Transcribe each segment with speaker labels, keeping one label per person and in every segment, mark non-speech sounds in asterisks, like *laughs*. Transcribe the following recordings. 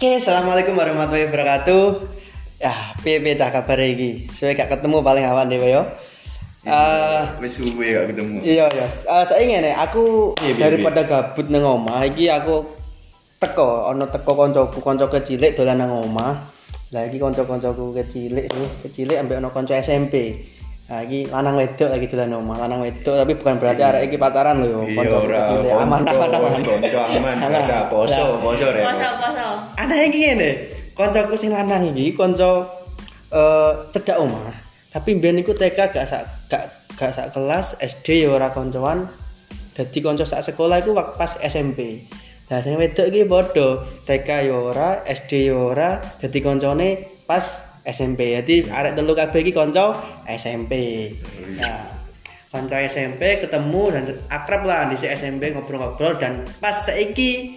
Speaker 1: Oke, assalamualaikum warahmatullahi wabarakatuh. Ya, piye piye cah kabar iki? Suwe gak ketemu paling awan dhewe yo. Eh,
Speaker 2: wis suwe gak ketemu.
Speaker 1: iya ya. Eh, saya ngene, aku
Speaker 2: Piye, piye,
Speaker 1: daripada gabut nang omah iki aku teko ana teko koncoku, kanca kecilik dolan nang omah. Lah iki kanca-kancaku kecilik sih, kecilik ambek ana kanca SMP. Nah, iki lanang wedok lagi dolan nang omah, lanang wedok tapi bukan berarti arek iki pacaran lho yo.
Speaker 2: Iya
Speaker 1: Kancaku
Speaker 2: ora
Speaker 1: kecilik aman aman aman.
Speaker 2: Konco
Speaker 1: *laughs*
Speaker 2: aman,
Speaker 1: Aman.
Speaker 2: baca poso,
Speaker 1: Lah,
Speaker 2: poso rek.
Speaker 3: Poso, poso.
Speaker 1: aneh iki ngene koncoku sing lanang iki konco eh cedak omah tapi mbiyen iku TK gak sak gak gak sak kelas SD ya ora koncoan dadi konco sak sekolah iku wak- pas SMP Nah, sing wedok iki padha TK ya ora, SD ya ora, dadi koncone pas SMP. Jadi arek telu kabeh iki konco SMP. Nah, kanca SMP ketemu dan akrab lah di SMP ngobrol-ngobrol dan pas saiki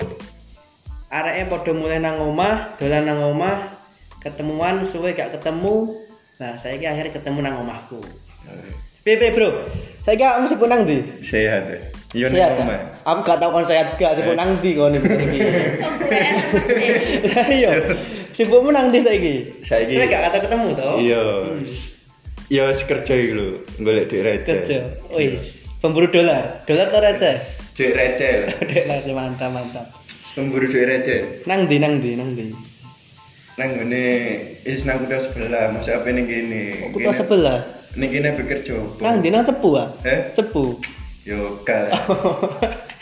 Speaker 1: areke padha mulai nang omah, dolan nang omah, ketemuan suwe gak ketemu. Nah, saiki akhirnya ketemu nang omahku. PP bro, saya gak mesti punang di.
Speaker 2: Sehat. eh. Yo nek
Speaker 1: Sehat,
Speaker 2: omah. Eh.
Speaker 1: gak? Aku gak tau kon sehat gak sibuk nang di kon
Speaker 2: *laughs*
Speaker 1: iki. Lah iya. Sibukmu nang di saiki.
Speaker 2: Saiki-
Speaker 1: Saya gak kata ketemu to.
Speaker 2: Iya. Yo wis kerja iki lho, golek duit receh.
Speaker 1: Kerja.
Speaker 2: Iya.
Speaker 1: Wis, pemburu dolar. Dolar to
Speaker 2: *laughs*
Speaker 1: receh.
Speaker 2: Duit receh. lho.
Speaker 1: Dek lah mantap mantap.
Speaker 2: Pemburu duit receh.
Speaker 1: Nang di nang di nang di.
Speaker 2: Nang ngene is nang kutha sebelah, mesti apa ning kene.
Speaker 1: Kutha Oh, sebelah.
Speaker 2: Ning kene bekerja. apa?
Speaker 1: Nang di nang cepu ah.
Speaker 2: Eh?
Speaker 1: Cepu.
Speaker 2: Yo
Speaker 1: *laughs*
Speaker 2: kalah.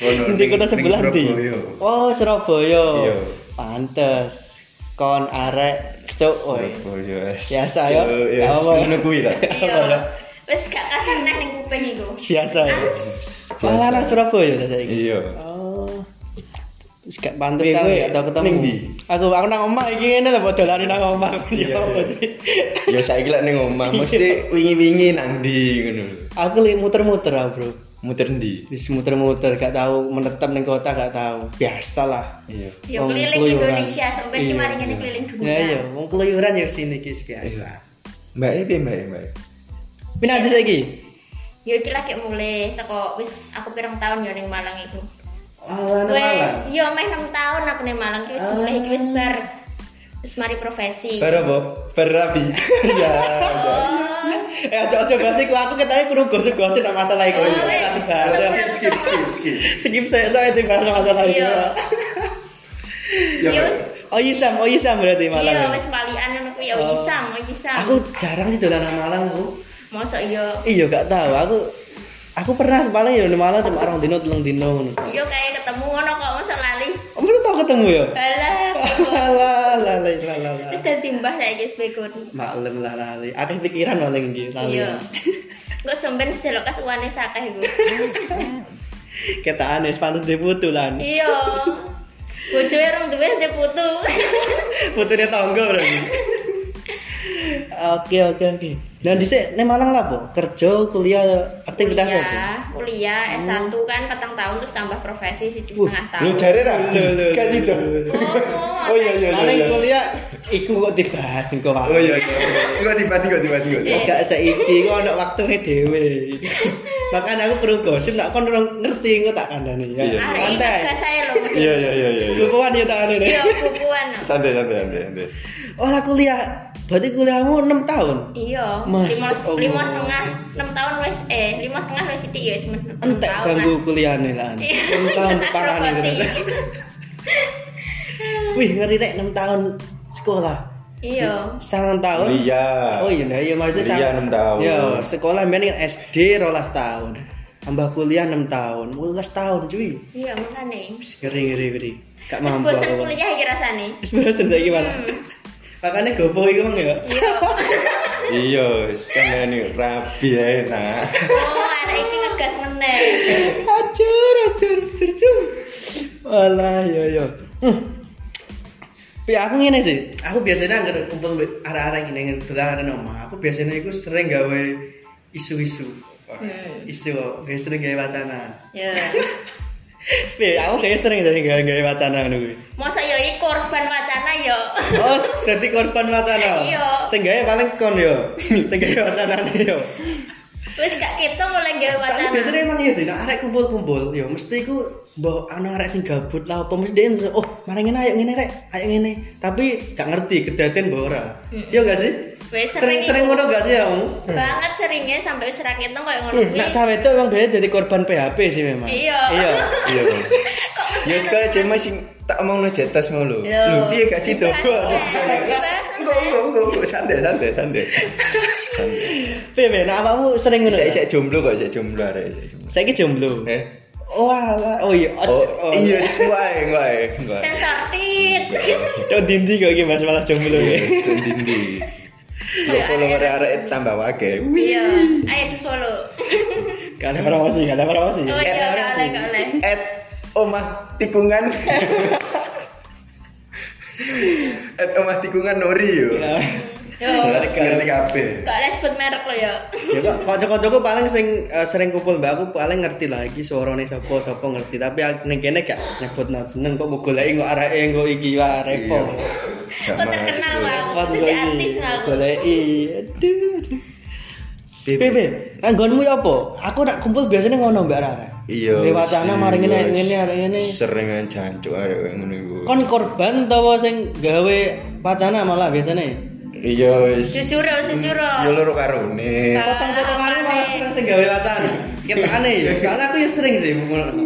Speaker 2: Kono,
Speaker 1: Di kota
Speaker 2: ning-
Speaker 1: sebelah
Speaker 2: ning
Speaker 1: di.
Speaker 2: Surabaya.
Speaker 1: Oh, Surabaya.
Speaker 2: Iya.
Speaker 1: Pantes. Kon arek cuk Oh, oi.
Speaker 2: Iya. Surabaya. wes.
Speaker 1: iya. Biasa, ya? yo.
Speaker 2: Yo, yes.
Speaker 1: Apa?
Speaker 2: Ya, Ngono kuwi lah.
Speaker 1: Apa?
Speaker 3: Iya. Wis gak kasar neh ning kuping iku.
Speaker 1: *laughs* Biasa ya.
Speaker 2: Biasa.
Speaker 1: Malah nang Surabaya ta saiki.
Speaker 2: Iya.
Speaker 1: Oh. Terus gak pantes
Speaker 2: Iya,
Speaker 1: aku
Speaker 2: gue
Speaker 1: gak tau ketemu.
Speaker 2: ning ndi?
Speaker 1: Aku aku nang omah iki ngene lho padha lari nang omah. *laughs*
Speaker 2: Iya,
Speaker 1: Ya apa
Speaker 2: iya.
Speaker 1: sih?
Speaker 2: Ya saiki lek ning
Speaker 1: *laughs*
Speaker 2: omah mesti wingi-wingi nang ndi ngono lho.
Speaker 1: Aku lagi muter-muter ah, Bro.
Speaker 2: Muter ndi?
Speaker 1: Wis muter-muter gak tahu menetap ning kota gak tahu. Biasalah.
Speaker 2: Iya.
Speaker 3: Yo
Speaker 1: Wong
Speaker 3: keliling
Speaker 1: keluyuran.
Speaker 3: Indonesia sampai
Speaker 1: Iya.
Speaker 3: kemarin ini keliling
Speaker 1: Ya iya,
Speaker 3: dunia.
Speaker 1: wong keluyuran ya sini iki biasa.
Speaker 2: Mbak iki mbak E, mbak.
Speaker 1: Pindah di saiki.
Speaker 3: Yo iki lagi mulai teko wis aku pirang tahun yo ning Malang iku.
Speaker 1: Alah nang Malang.
Speaker 3: Wis yo meh 6 tahun aku ning Malang iki wis
Speaker 1: Ah.
Speaker 3: mulai iki wis bar wis mari
Speaker 1: Iya.
Speaker 3: profesi.
Speaker 2: Para apa?
Speaker 1: *laughs*
Speaker 2: Perapi. Ya.
Speaker 1: Eh, aja aja bahas iku aku ketane kudu gosip-gosip nang masalah iku.
Speaker 3: Oh,
Speaker 1: Saya tak
Speaker 3: iya.
Speaker 1: bahas.
Speaker 2: Skip skip skip skip.
Speaker 1: Skip saya saya tiba masalah iku.
Speaker 3: Iya.
Speaker 2: Ya.
Speaker 3: Yo
Speaker 2: Mbak.
Speaker 1: Oh iya Sam, oh iya Sam berarti Malang.
Speaker 3: yo
Speaker 1: ya?
Speaker 3: wis balikan ngono ku yo
Speaker 1: Oh.
Speaker 3: isam, yo isam.
Speaker 1: Aku jarang sih dolan nang Malang, Bu.
Speaker 3: mosok yo
Speaker 1: Iya, gak tahu. Aku aku pernah paling ya nang Malang cuma orang dino telung dino ngono.
Speaker 3: yo kayak ketemu ngono kok mosok lali.
Speaker 1: *laughs* Oh, belum tau ketemu ya? *laughs*
Speaker 3: Iya. Alah.
Speaker 1: Alah, lalai, lalai, lalai.
Speaker 3: Wis dadi mbah saiki wis pikun.
Speaker 1: Maklum lah lalai. Akeh pikiran paling iki, lalai.
Speaker 3: *laughs* Iya. Kok sampean sudah lokas uane sakeh iku.
Speaker 1: Kita aneh, pantas dibutulan.
Speaker 3: Iya. Bojone rong duwe dia putu.
Speaker 1: Putune tangga berarti. Oke oke oke. Dan di sini Malang lah, Bu. Kerja, kuliah, aktivitas apa?
Speaker 3: kuliah, kuliah S1
Speaker 1: Oh.
Speaker 3: kan petang tahun terus tambah profesi siji
Speaker 1: Wuh,
Speaker 2: E.
Speaker 3: setengah
Speaker 2: Lu
Speaker 3: tahun.
Speaker 2: cari ra? Kan itu.
Speaker 3: Oh,
Speaker 2: Oh iya iya iya,
Speaker 1: Paling
Speaker 2: iya.
Speaker 1: kuliah iku kok dibahas engko
Speaker 2: Oh
Speaker 1: wae.
Speaker 2: iya iya. Kok dibati kok dibati kok.
Speaker 3: Iya.
Speaker 1: Enggak saiki kok ana waktune dhewe. Makanya aku perlu gosip nak kon orang ngerti engko tak kandani ya.
Speaker 2: Iya.
Speaker 3: Arek Ah, ini
Speaker 1: Santai.
Speaker 3: tugas saya lho.
Speaker 2: *laughs* Iya iya iya iya. iya.
Speaker 1: Cukupan ya tak kandani.
Speaker 3: Iya, bukuan.
Speaker 2: Santai santai santai santai.
Speaker 1: Oh, lah kuliah. Berarti kuliahmu 6 tahun.
Speaker 3: Iya,
Speaker 1: Mas ya
Speaker 3: lima,
Speaker 1: Allah.
Speaker 3: lima setengah, enam tahun wes, eh lima setengah wes itu ya, enam tahun. Iya.
Speaker 1: Entek ganggu kuliahane lah. 6
Speaker 3: *laughs*
Speaker 1: tahun parane. terus. Wih, ngeri rek 6 tahun sekolah.
Speaker 3: Iya,
Speaker 1: Sangat tahun.
Speaker 2: Iya.
Speaker 1: Oh iya, nah, iya maksudnya
Speaker 2: Kuliah
Speaker 1: sama-
Speaker 2: enam tahun.
Speaker 1: Iya, sekolah main kan SD rolas tahun. Tambah kuliah 6 tahun, 11 tahun cuy.
Speaker 3: iya makane.
Speaker 1: Wis, Ngeri ngeri ngeri. Gak
Speaker 3: Wis
Speaker 1: mampu.
Speaker 3: bosen
Speaker 1: aku.
Speaker 3: kuliah iki rasane.
Speaker 1: Wis bosen saiki malah. Makane gopo iku mang ya. *laughs*
Speaker 3: Iya.
Speaker 2: Iya, wis, kan ini rapi enak.
Speaker 3: Oh, anak iki ngegas meneh.
Speaker 1: Hajar, hajar, hajar, hajar. Alah, yo yo. Hmm. Pi aku ngene sih. Aku biasanya anggar kumpul mbek arah-arah gini dolan nang omah. Aku biasanya iku sering gawe isu-isu.
Speaker 3: Hmm.
Speaker 1: Isu, gawe sering gawe wacana.
Speaker 3: Ya.
Speaker 1: Pi aku kayak sering jadi gawe gawe wacana ngono kuwi.
Speaker 3: Masa yo iki korban wacana yo.
Speaker 1: Oh, dadi korban wacana.
Speaker 3: Iya.
Speaker 1: Sing gawe paling kon yo. Sing gawe wacana yo.
Speaker 3: Wis gak ketok mulai gawe
Speaker 1: Soalnya
Speaker 3: wacana.
Speaker 1: biasanya emang iya sih, nah, arek kumpul-kumpul, ya mesti ku mbok ana arek sing gabut lah apa mesti dia oh, mari ngene ayo ngene rek, ayo ngene. Tapi gak ngerti kedaten mbok ora. Iya gak sih?
Speaker 3: Wes sering
Speaker 1: Sering-sering ngono gak sih ya? Om?
Speaker 3: banget seringnya sampai wis ra ketok koyo ngono
Speaker 1: Hmm,
Speaker 3: kuwi.
Speaker 1: Nak cawe itu emang biasanya jadi korban PHP sih memang.
Speaker 3: Iya.
Speaker 1: Iya.
Speaker 2: Iya. Ya sekolah cuma sing tak mau ngejetas mau lo.
Speaker 3: Yo.
Speaker 2: Lu piye gak sih tuh?
Speaker 3: Santai, santai.
Speaker 2: Enggak, enggak, enggak, santai, santai, santai. Santai.
Speaker 1: Piye, nak awakmu sering ngono? Saya
Speaker 2: Saya saya jomblo kok, saya jomblo arek, saya jomblo.
Speaker 1: saiki jomblo.
Speaker 2: Iya. Eh.
Speaker 1: Oh, alah. oh iya.
Speaker 2: Oh,
Speaker 1: iya.
Speaker 2: iya, suai, suai, suai.
Speaker 3: Sensor tit.
Speaker 1: Cok dindi kok iki Mas malah jomblo iki.
Speaker 2: Iya, dindi. Yo follower arek tambah wake.
Speaker 3: Iya, ayo di follow.
Speaker 1: Gak ada promosi, gak ada promosi.
Speaker 3: Oh iya, gak oleh, gak oleh.
Speaker 2: At omah
Speaker 3: *laughs*
Speaker 2: tikungan. At omah tikungan Nori yo.
Speaker 1: Ya.
Speaker 3: Yo,
Speaker 2: Jelas ngerti kabeh.
Speaker 3: gak oleh sebut merek lo ya.
Speaker 1: ya kok kanca-kancaku paling sing eh, sering kumpul mbak aku paling ngerti lah iki suarane sapa sapa ngerti tapi aku- ning kene gak nyebut jeneng kok mbok goleki kok areke kok iki wah repot.
Speaker 2: Gak
Speaker 3: Kok terkenal
Speaker 2: masuk.
Speaker 3: Bang?
Speaker 1: Kon
Speaker 3: Itu
Speaker 1: kok
Speaker 3: di
Speaker 1: iki
Speaker 3: artis malah.
Speaker 1: goleki. Aduh. aduh.
Speaker 2: Beb.
Speaker 1: Bebe, nggonmu ya apa? Aku nak kumpul biasanya ngono Mbak Rara.
Speaker 2: Iya.
Speaker 1: Lewat sana mari ngene
Speaker 2: serius.
Speaker 1: ngene arek ngene.
Speaker 2: Seringan jancuk arek koyo ngono iku.
Speaker 1: Kon korban utawa sing gawe wacana malah biasanya.
Speaker 2: Iya wis.
Speaker 3: Jujur,
Speaker 1: Hmm.
Speaker 3: ya, jujur. ya.
Speaker 2: Yo loro karone.
Speaker 3: Ah,
Speaker 1: Potong-potongannya malah
Speaker 3: aneh.
Speaker 1: sering sing gawe wacana. Kita aneh ya. Soalnya aku ya sering sih ngono.
Speaker 3: Aku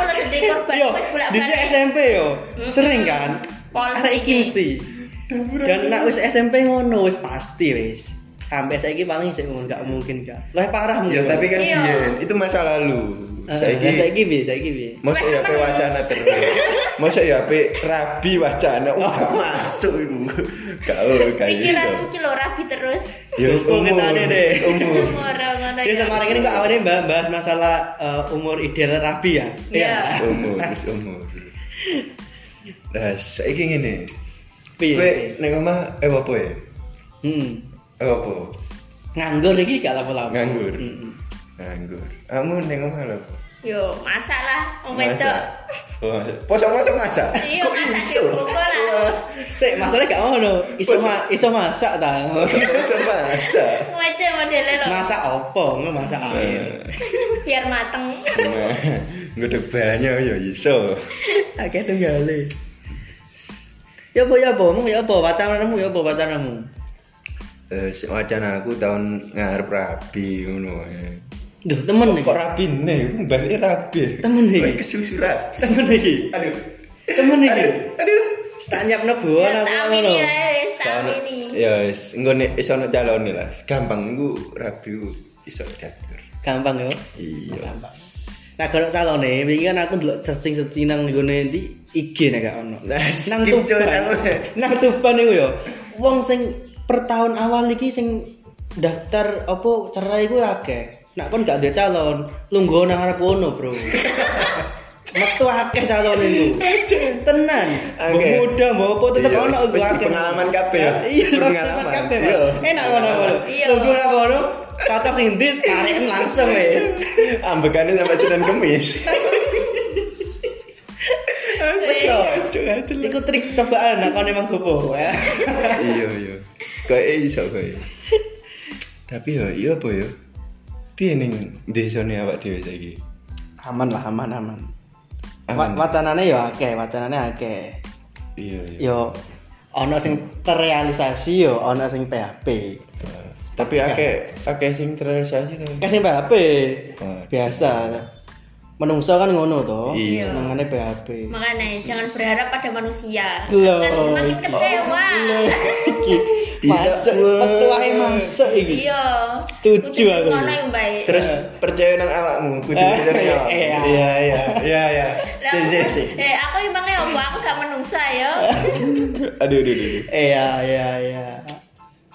Speaker 3: lo jadi korban
Speaker 1: yo
Speaker 3: wis
Speaker 1: di sini
Speaker 3: bolak-balik.
Speaker 1: SMP yo
Speaker 3: Mm-mm.
Speaker 1: sering kan
Speaker 3: Polos
Speaker 1: arek iki
Speaker 3: iki.
Speaker 1: mesti dan nak wis SMP ngono wis pasti wis sampai saiki paling sik ngono gak mungkin gak lah parah mungkin
Speaker 2: Ya tapi kan
Speaker 3: Iya.
Speaker 2: biyen itu masa lalu.
Speaker 1: Eh, saiki
Speaker 2: Saiki
Speaker 1: saiki piye saiki piye
Speaker 2: Masa ya pe wacana terus. Masa ya pe rabi wacana.
Speaker 1: Oh,
Speaker 2: Wah, masuk iku. Gak oh, gak
Speaker 3: Pikiranmu
Speaker 2: iso.
Speaker 3: ki lo rapi terus.
Speaker 2: Ya wis
Speaker 1: Kumpul
Speaker 2: umur.
Speaker 1: ketane deh.
Speaker 2: wis Umur.
Speaker 3: Ora ngono.
Speaker 1: Ya sama hari ini kok awalnya mbak bahas masalah eh, umur ideal rapi ya.
Speaker 3: Iya.
Speaker 2: Wis umur, wis umur. Nah, saiki ngene.
Speaker 1: Piye?
Speaker 2: Kowe ning omah eh apa ya?
Speaker 1: Hmm.
Speaker 2: Eh apa?
Speaker 1: Nganggur iki gak Hmm. lapo-lapo.
Speaker 2: Nganggur.
Speaker 1: Mm-mm.
Speaker 2: Nganggur. Kamu ning omah lho.
Speaker 3: Yo, masak lah wong wedok.
Speaker 2: Poso-poso Oh, masak.
Speaker 3: Iya,
Speaker 2: Kok
Speaker 3: masak
Speaker 2: iso?
Speaker 3: dibuka lah.
Speaker 2: Wah,
Speaker 1: Sik, masalahnya gak ngono. Iso ma- iso masak ta.
Speaker 2: *laughs* Poso masak.
Speaker 3: Ngece modele lo.
Speaker 1: masak opo? Nggak masak
Speaker 2: Eh.
Speaker 1: air.
Speaker 3: Biar mateng.
Speaker 2: Nah, Ngedek banyak ya iso.
Speaker 1: Akeh tunggale. eh. Ya apa ya apa, mung ya apa wacanamu ya apa wacanamu.
Speaker 2: Eh, sik wacana aku tahun ngarep rabi ngono ae.
Speaker 1: Duh, temen iki.
Speaker 2: Kok rabi ne? Bali rabi.
Speaker 1: Temen iki.
Speaker 2: Kowe kesusu rabi.
Speaker 1: Temen iki.
Speaker 2: Aduh.
Speaker 1: Temen iki.
Speaker 2: Aduh.
Speaker 1: Tak nyap nebo
Speaker 3: Ya
Speaker 1: ana apa
Speaker 3: sami
Speaker 1: ngono.
Speaker 3: nih ya, wis sami
Speaker 2: Tahun-
Speaker 3: nih.
Speaker 2: Ya wis, engko nek iso ono calone lah. Gampang iku rabi ku iso diatur.
Speaker 1: Gampang yo.
Speaker 2: Iya.
Speaker 1: Gampang. Nah, kalau calone wingi kan aku ndelok searching-searching nang nggone ndi IG nek gak ono.
Speaker 2: Nah,
Speaker 1: Nang
Speaker 2: skip, coy,
Speaker 1: Tuban.
Speaker 2: aku.
Speaker 1: Nang Tuban iku yo. Wong sing per tahun awal iki sing daftar apa cerai iku akeh. Nak kon gak duwe calon, lungguh nang arep ono,
Speaker 2: *laughs*
Speaker 1: Bro. Metu akeh calon iku. Eh. Tenan. Mbok
Speaker 2: Akeh.
Speaker 1: muda, mbok apa tetep
Speaker 2: Iya,
Speaker 1: ono
Speaker 2: wis-
Speaker 1: iku
Speaker 2: wis pengalaman kabeh ya.
Speaker 1: Iya, pengalaman
Speaker 2: Pengalaman.
Speaker 1: kabeh.
Speaker 2: Iya.
Speaker 1: Mas. Enak ngono. Bro.
Speaker 3: Iya.
Speaker 1: Lungguh nang kono, cocok sing ndi, tarikan langsung wis.
Speaker 2: Ambekannya sampai Senin Kemis.
Speaker 1: Wes yo, iku trik cobaan nak kon emang gopo ya.
Speaker 2: iya iya kaya iso kaya tapi ya iya apa ya piye ning desane awak dhewe saiki
Speaker 1: *laughs* Aman lah, aman aman.
Speaker 2: Aman.
Speaker 1: Wa- wacanane yo akeh, wacanane akeh.
Speaker 2: iya iya
Speaker 1: Yo ana sing terrealisasi yo ana sing PHP.
Speaker 2: Eh, tapi akeh akeh sing terrealisasi to
Speaker 1: Akeh sing PHP.
Speaker 2: Oh.
Speaker 1: Biasa. Menungso kan ngono to.
Speaker 2: Iya.
Speaker 1: Senengane PHP.
Speaker 3: Makanya jangan berharap pada manusia.
Speaker 1: Loh.
Speaker 3: Akan semakin kecewa.
Speaker 1: Loh, iki.
Speaker 2: Iya,
Speaker 1: Masuk
Speaker 2: wah.
Speaker 1: petuae masuk iki.
Speaker 3: Iya.
Speaker 1: Setuju
Speaker 3: Kudu
Speaker 1: aku.
Speaker 3: ngono yang baik.
Speaker 2: terus percaya nang awakmu kudu
Speaker 1: Eh,
Speaker 2: percaya nang awakmu.
Speaker 1: iya.
Speaker 2: iya iya iya iya
Speaker 3: Lah,
Speaker 2: Si, si, si.
Speaker 3: eh aku emangnya apa? Aku gak menungsa ya.
Speaker 2: aduh aduh aduh
Speaker 1: Iya, iya, iya.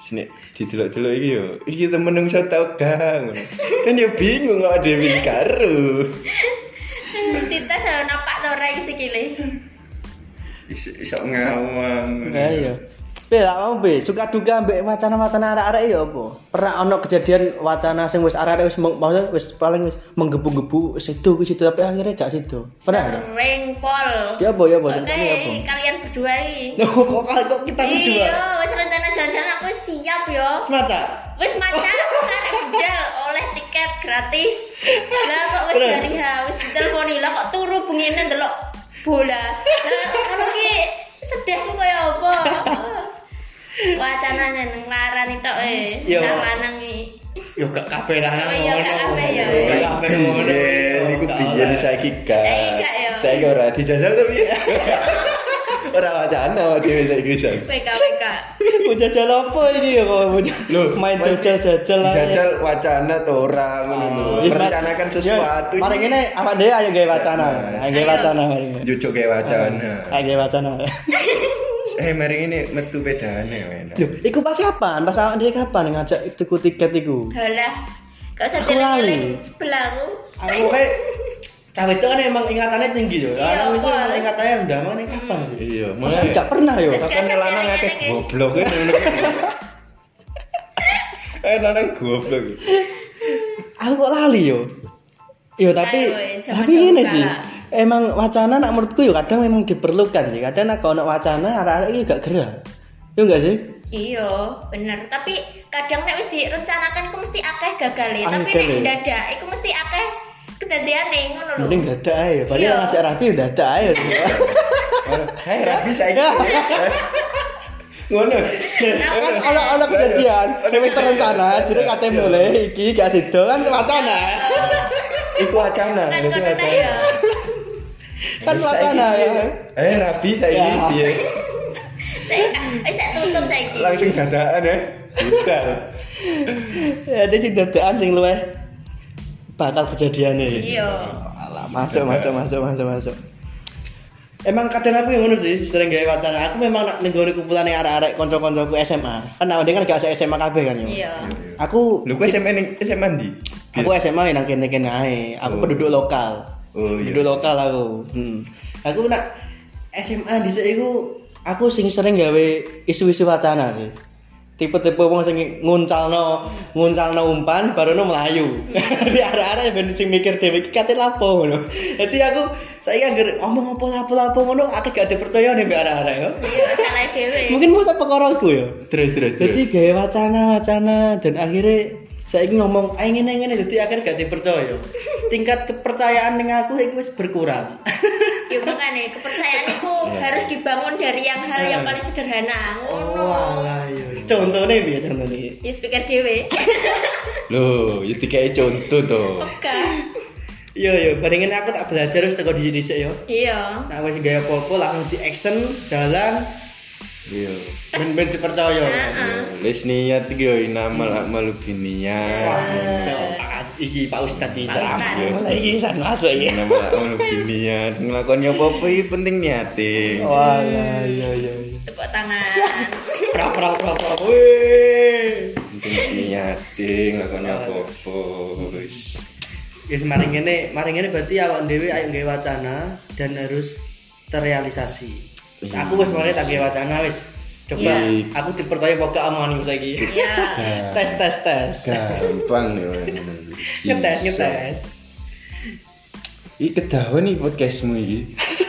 Speaker 2: sini didelok-delok iki yo iki temen nang saya tau gak ngono. kan yo bingung awak dhewe karo
Speaker 3: Cinta saya nampak tuh orang sekile.
Speaker 2: iso iso ngawang
Speaker 1: Nah, iya. Be, lah kamu be, suka duka mbek wacana-wacana arek-arek ya apa? Pernah ono kejadian wacana sing wis arek-arek wis meng- maksudnya wis paling wis menggebu-gebu wis situ wis situ tapi akhirnya gak situ. Pernah nggak?
Speaker 3: Sering pol.
Speaker 1: Ya apa ya apa
Speaker 3: Oke,
Speaker 1: ceritanya apa?
Speaker 3: kalian berdua ini.
Speaker 1: Loh, kok kok- kok kita berdua?
Speaker 3: Iya, wis rencana jalan-jalan aku siap yo.
Speaker 1: Semaca.
Speaker 3: Wis macan karek gedel oleh tiket gratis lah kok wis
Speaker 1: Terus?
Speaker 3: dari haus diteleponi lah kok turu bengine ndelok bola lah kalau ki sedih ku koyo apa wacananya nang laran itu eh
Speaker 1: Yo.
Speaker 3: nang lanang iki
Speaker 1: yo gak kabeh lah
Speaker 3: Oh, iya, gak kabeh, ya.
Speaker 1: Gak kabeh
Speaker 2: Iya,
Speaker 1: ngono.
Speaker 2: Biyen iku biyen saiki gak.
Speaker 3: Saiki gak, ya.
Speaker 2: Saiki ora dijajal to piye? *laughs* Ora wacana wae dhewe saiki saiki.
Speaker 3: WK WK
Speaker 1: *laughs* Mau jajal apa ini ya kok mau jajal?
Speaker 2: Loh,
Speaker 1: main
Speaker 2: pasti
Speaker 1: jajal-jajal Iya. lah.
Speaker 2: Jajal wacana to ora ngono lho. Merencanakan sesuatu.
Speaker 1: Iya. Mari ngene apa dhewe ayo gawe wacana.
Speaker 2: Yes.
Speaker 1: Ayo gawe wacana mari. ngene.
Speaker 2: jujuk kayak wacana.
Speaker 1: Ayo gawe
Speaker 2: *laughs*
Speaker 1: wacana.
Speaker 2: Eh mari ini metu bedane men.
Speaker 1: Yo, iku pas kapan? Pas awak dhewe kapan ngajak tuku tiket iku?
Speaker 3: halah gak usah
Speaker 1: Aku lali.
Speaker 3: dileng-leng sebelahku
Speaker 1: Aku kayak cawe itu kan emang ingatannya tinggi yo. Anu, Lanang itu
Speaker 3: Iya, Pak.
Speaker 1: emang ingatannya rendah mana kapan sih?
Speaker 2: Iya,
Speaker 1: Masa gak pernah yo.
Speaker 3: Terus
Speaker 2: Kapan
Speaker 3: kayak
Speaker 2: lanang akeh
Speaker 3: sakit-sakit
Speaker 2: goblok kan ngono *laughs* kan. Eh lanang goblok.
Speaker 1: Aku kok lali yo. Yo tapi
Speaker 3: Ayo, eh,
Speaker 1: tapi
Speaker 3: jangan
Speaker 1: ini
Speaker 3: coba.
Speaker 1: sih. Emang wacana nak menurutku yo kadang memang diperlukan sih. Kadang nak ono wacana arek-arek iki gak gerak. Yo enggak sih?
Speaker 3: Iya, bener. Tapi kadang nek wis direncanakan iku mesti akeh gagale,
Speaker 1: Akeh
Speaker 3: tapi
Speaker 1: gagale.
Speaker 3: nek dadak iku mesti akeh kedadeane ngono lho.
Speaker 1: Mending dadak ae. Padahal
Speaker 3: Iya.
Speaker 1: ngajak rapi dadak
Speaker 3: *laughs*
Speaker 1: ae. Kan
Speaker 2: Hai rapi saiki. Ngono.
Speaker 1: Kan ono ono
Speaker 3: Iya.
Speaker 1: kejadian, sing wis terencana, jadi kate
Speaker 2: Iya.
Speaker 1: mulai iki gak sido kan wacana.
Speaker 2: Iku wacana,
Speaker 3: Kan
Speaker 2: berarti
Speaker 3: kono ta ya.
Speaker 2: wacana.
Speaker 1: Kan
Speaker 2: Terus saiki
Speaker 1: wacana ya.
Speaker 2: piye? Eh rapi iya. saiki
Speaker 1: Ya.
Speaker 2: piye?
Speaker 3: Saya eh saya tutup saiki.
Speaker 2: Langsung dadaan ya. Sudah.
Speaker 1: Ya ada sing dadakan sing luweh bakal kejadiane.
Speaker 3: Iya.
Speaker 1: Alah, masuk masuk masuk masuk masuk. Emang kadang aku yang ngono sih, sering gawe wacana. Aku memang nak nenggone kumpulane arek-arek kanca-kancaku SMA. Kan awake kan gak asa SMA kabeh kan yo.
Speaker 3: Iya.
Speaker 1: Aku
Speaker 2: Lu kok SMA ning SMA ndi?
Speaker 1: aku SMA nang kene-kene ae. eh, Aku
Speaker 2: Oh.
Speaker 1: penduduk lokal.
Speaker 2: Oh, iya.
Speaker 1: Penduduk lokal aku. Hmm. Aku nak SMA dhisik iku aku sing sering gawe isu-isu wacana sih. Tipe-tipe wong sing nguncalno nguncalno umpan barono melayu.
Speaker 2: Hmm.
Speaker 1: *laughs* Di arah-arah ben sing mikir dhewe iki kate lapo ngono. Dadi aku saiki anggere ngomong apa-apa-apa ngono akeh gak dipercaya nih mbek arah-arah yo.
Speaker 3: Iya, salah
Speaker 2: Eh.
Speaker 3: dhewe.
Speaker 1: Mungkin masa perkara aku yo.
Speaker 2: Terus terus
Speaker 1: Jadi gaya wacana wacana dan akhirnya saya ingin ngomong ah ingin ingin jadi akhirnya gak dipercaya. Tingkat kepercayaan dengan aku itu wis berkurang. *laughs*
Speaker 3: Ya makane kepercayaan itu harus dibangun dari yang hal yang paling sederhana.
Speaker 1: Oh,
Speaker 3: Ngono.
Speaker 1: alah
Speaker 2: iya.
Speaker 1: yo. Contohnya biar contohnya.
Speaker 3: Ya pikir *laughs* dhewe.
Speaker 2: Loh, ya dikai contoh to.
Speaker 3: Oke.
Speaker 1: Yo yo, bandingin aku tak belajar wis teko di sini yo.
Speaker 3: Iya.
Speaker 1: Nah wis gaya popo langsung di action jalan
Speaker 2: Iya.
Speaker 1: ben ben dipercaya.
Speaker 3: Heeh.
Speaker 2: Wis niat iki yo inamal amal biniat.
Speaker 1: Wah, iso. Pak- iki Pak Ustadz di
Speaker 3: Pak
Speaker 1: sana.
Speaker 2: Ustadz.
Speaker 1: Iki san masuk ya.
Speaker 2: Inamal amal biniat. Nglakoni apa-apa iki penting niate.
Speaker 1: Oh. Walah yo yo. yo.
Speaker 3: Tepuk tangan.
Speaker 1: Pra pra pra pra. Wih.
Speaker 2: Penting niate nglakoni apa-apa. Wis.
Speaker 1: Yes, mari ngene, mari ngene berarti awak dhewe ayo nggawe wacana dan harus terrealisasi. Terus aku wis mulai tak nggawe wacana wis. Coba
Speaker 2: Iya.
Speaker 1: aku dipercaya kok keamanan saiki.
Speaker 3: Iya.
Speaker 1: tes tes tes.
Speaker 2: Gampang yo.
Speaker 1: *laughs* Ngetes ngetes.
Speaker 2: Iki kedawan iki podcastmu iki.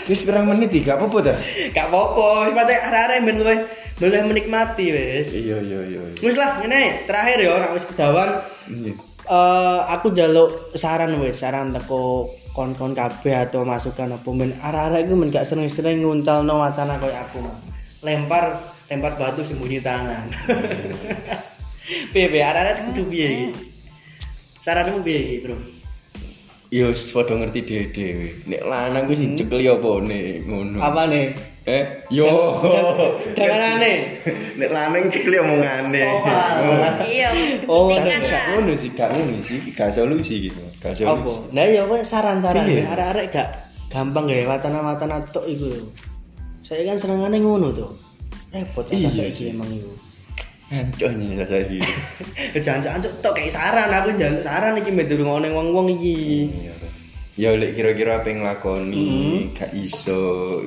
Speaker 2: Wis pirang menit iki gak apa-apa ta?
Speaker 1: Gak apa-apa, wis patek arek-arek ben luwih luwih menikmati wis.
Speaker 2: Iya iya iya. iya.
Speaker 1: Wis lah ngene, terakhir yo nek wis kedawan
Speaker 2: Iya.
Speaker 1: eh aku jaluk saran wis, saran teko kon-kon kabeh atau masukan apa men arek-arek iku men gak sering-sering nguntalno wacana koyo aku. Lempar lempar batu sembunyi tangan. *laughs* Piye piye arek-arek kudu piye iki? Saranmu piye iki, Bro?
Speaker 2: Yo wis padha ngerti dhewe-dhewe. Nek lanang ku sing cekli opone ngono.
Speaker 1: Hmm? Apa nih?
Speaker 2: Eh, yo.
Speaker 1: Danganane.
Speaker 2: Nek lanang cekli omongane.
Speaker 1: Oh, alah.
Speaker 3: Iya.
Speaker 1: Oh,
Speaker 2: Tapi
Speaker 3: Kepentingan
Speaker 2: gak
Speaker 3: lah.
Speaker 2: ngono sih, gak ngono sih, gak solusi gitu. Gak
Speaker 1: Apa?
Speaker 2: solusi.
Speaker 1: Nah ya kowe saran-saran
Speaker 2: Piye?
Speaker 1: ben arek-arek gak gampang gawe wacana-wacana tok iku. yo. Saya kan senengane ngono to. Repot
Speaker 2: Iya,
Speaker 1: cacah saiki
Speaker 2: iya.
Speaker 1: emang iku.
Speaker 2: Ancok ini saya *laughs* iki.
Speaker 1: Ya jangan jancuk tok kayak saran aku njaluk saran iki mbek durung ngene wong-wong iki.
Speaker 2: Iya, Ren. Ya lek kira-kira apa yang
Speaker 1: Mm.
Speaker 2: lakoni, gak iso,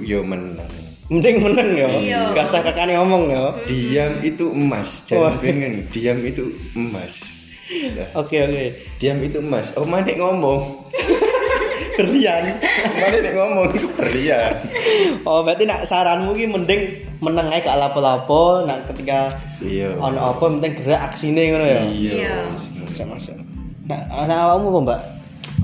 Speaker 2: yo menang.
Speaker 1: Mending meneng ya.
Speaker 3: Iya.
Speaker 1: Gak usah kakane ngomong ya.
Speaker 2: Diam itu emas,
Speaker 1: Wah.
Speaker 2: jangan kan diam itu emas. Lah,
Speaker 1: Oke oke.
Speaker 2: Diam itu emas. Oh, mana ngomong? *laughs*
Speaker 1: Berlian.
Speaker 2: Mana nek ngomong itu berlian.
Speaker 1: Oh berarti nak saranmu iki mending meneng ae gak lapo-lapo nak ketika
Speaker 2: Iya.
Speaker 1: ono apa penting gerak aksine ngono ya.
Speaker 2: Iya.
Speaker 3: Iya.
Speaker 2: Sama-sama.
Speaker 1: Nah, ana awakmu apa, Mbak?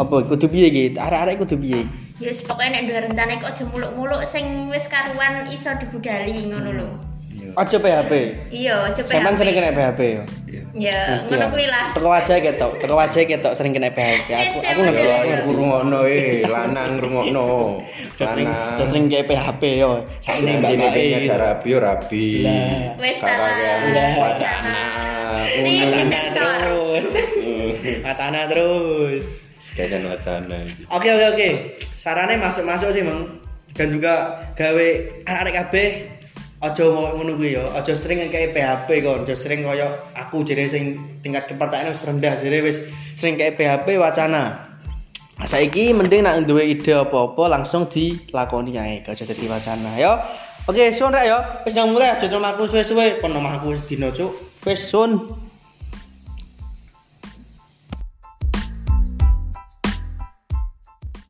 Speaker 1: Apa kudu piye iki? Arek-arek kudu piye?
Speaker 3: Ya yes, pokoknya nek duwe rencana iku aja muluk-muluk sing wis karuan iso dibudali ngono lho.
Speaker 2: Iya.
Speaker 1: Aja PHP.
Speaker 3: Iya, coba
Speaker 1: Sampeyan
Speaker 3: HP.
Speaker 1: Hmm. sering kena Hmm, PHP yo.
Speaker 2: Iya.
Speaker 3: Ya,
Speaker 1: Ngerti
Speaker 3: ngono
Speaker 1: ya?
Speaker 3: kuwi lah.
Speaker 1: Teko aja ketok, teko aja ketok sering kena PHP. Aku aku ngerti
Speaker 3: Iya,
Speaker 1: aku
Speaker 2: Lanang
Speaker 1: ngerti.
Speaker 2: ngrungokno eh, lanang ngrungokno.
Speaker 1: Aja sering aja
Speaker 2: Lanang.
Speaker 1: sering kayak PHP yo. Saiki
Speaker 2: Ini
Speaker 1: mbak
Speaker 2: mbak
Speaker 1: mbak
Speaker 2: ini acara rapi yo rapi.
Speaker 1: Lah.
Speaker 3: Wis
Speaker 2: Kakak kayak
Speaker 1: Lah.
Speaker 2: wacana.
Speaker 3: Nih,
Speaker 1: Wacana
Speaker 3: sensor.
Speaker 1: terus.
Speaker 2: Mm.
Speaker 1: Wacana terus.
Speaker 2: Sekalian wacana.
Speaker 1: Oke oke oke. Sarannya masuk-masuk sih, Mang. Dan juga gawe arek-arek kabeh aja mau ngono kuwi ya. Aja sering kayak PHP kon, aja sering koyo aku jadi sing tingkat kepercayaan wis rendah jadi wis sering kayak PHP wacana. Saiki mending nak duwe ide apa-apa langsung dilakoni ae, gak aja dadi wacana ya. Oke, sun rek ya. Wis nang mulai aja aku suwe-suwe, kon omahku dino cuk. Wis sun.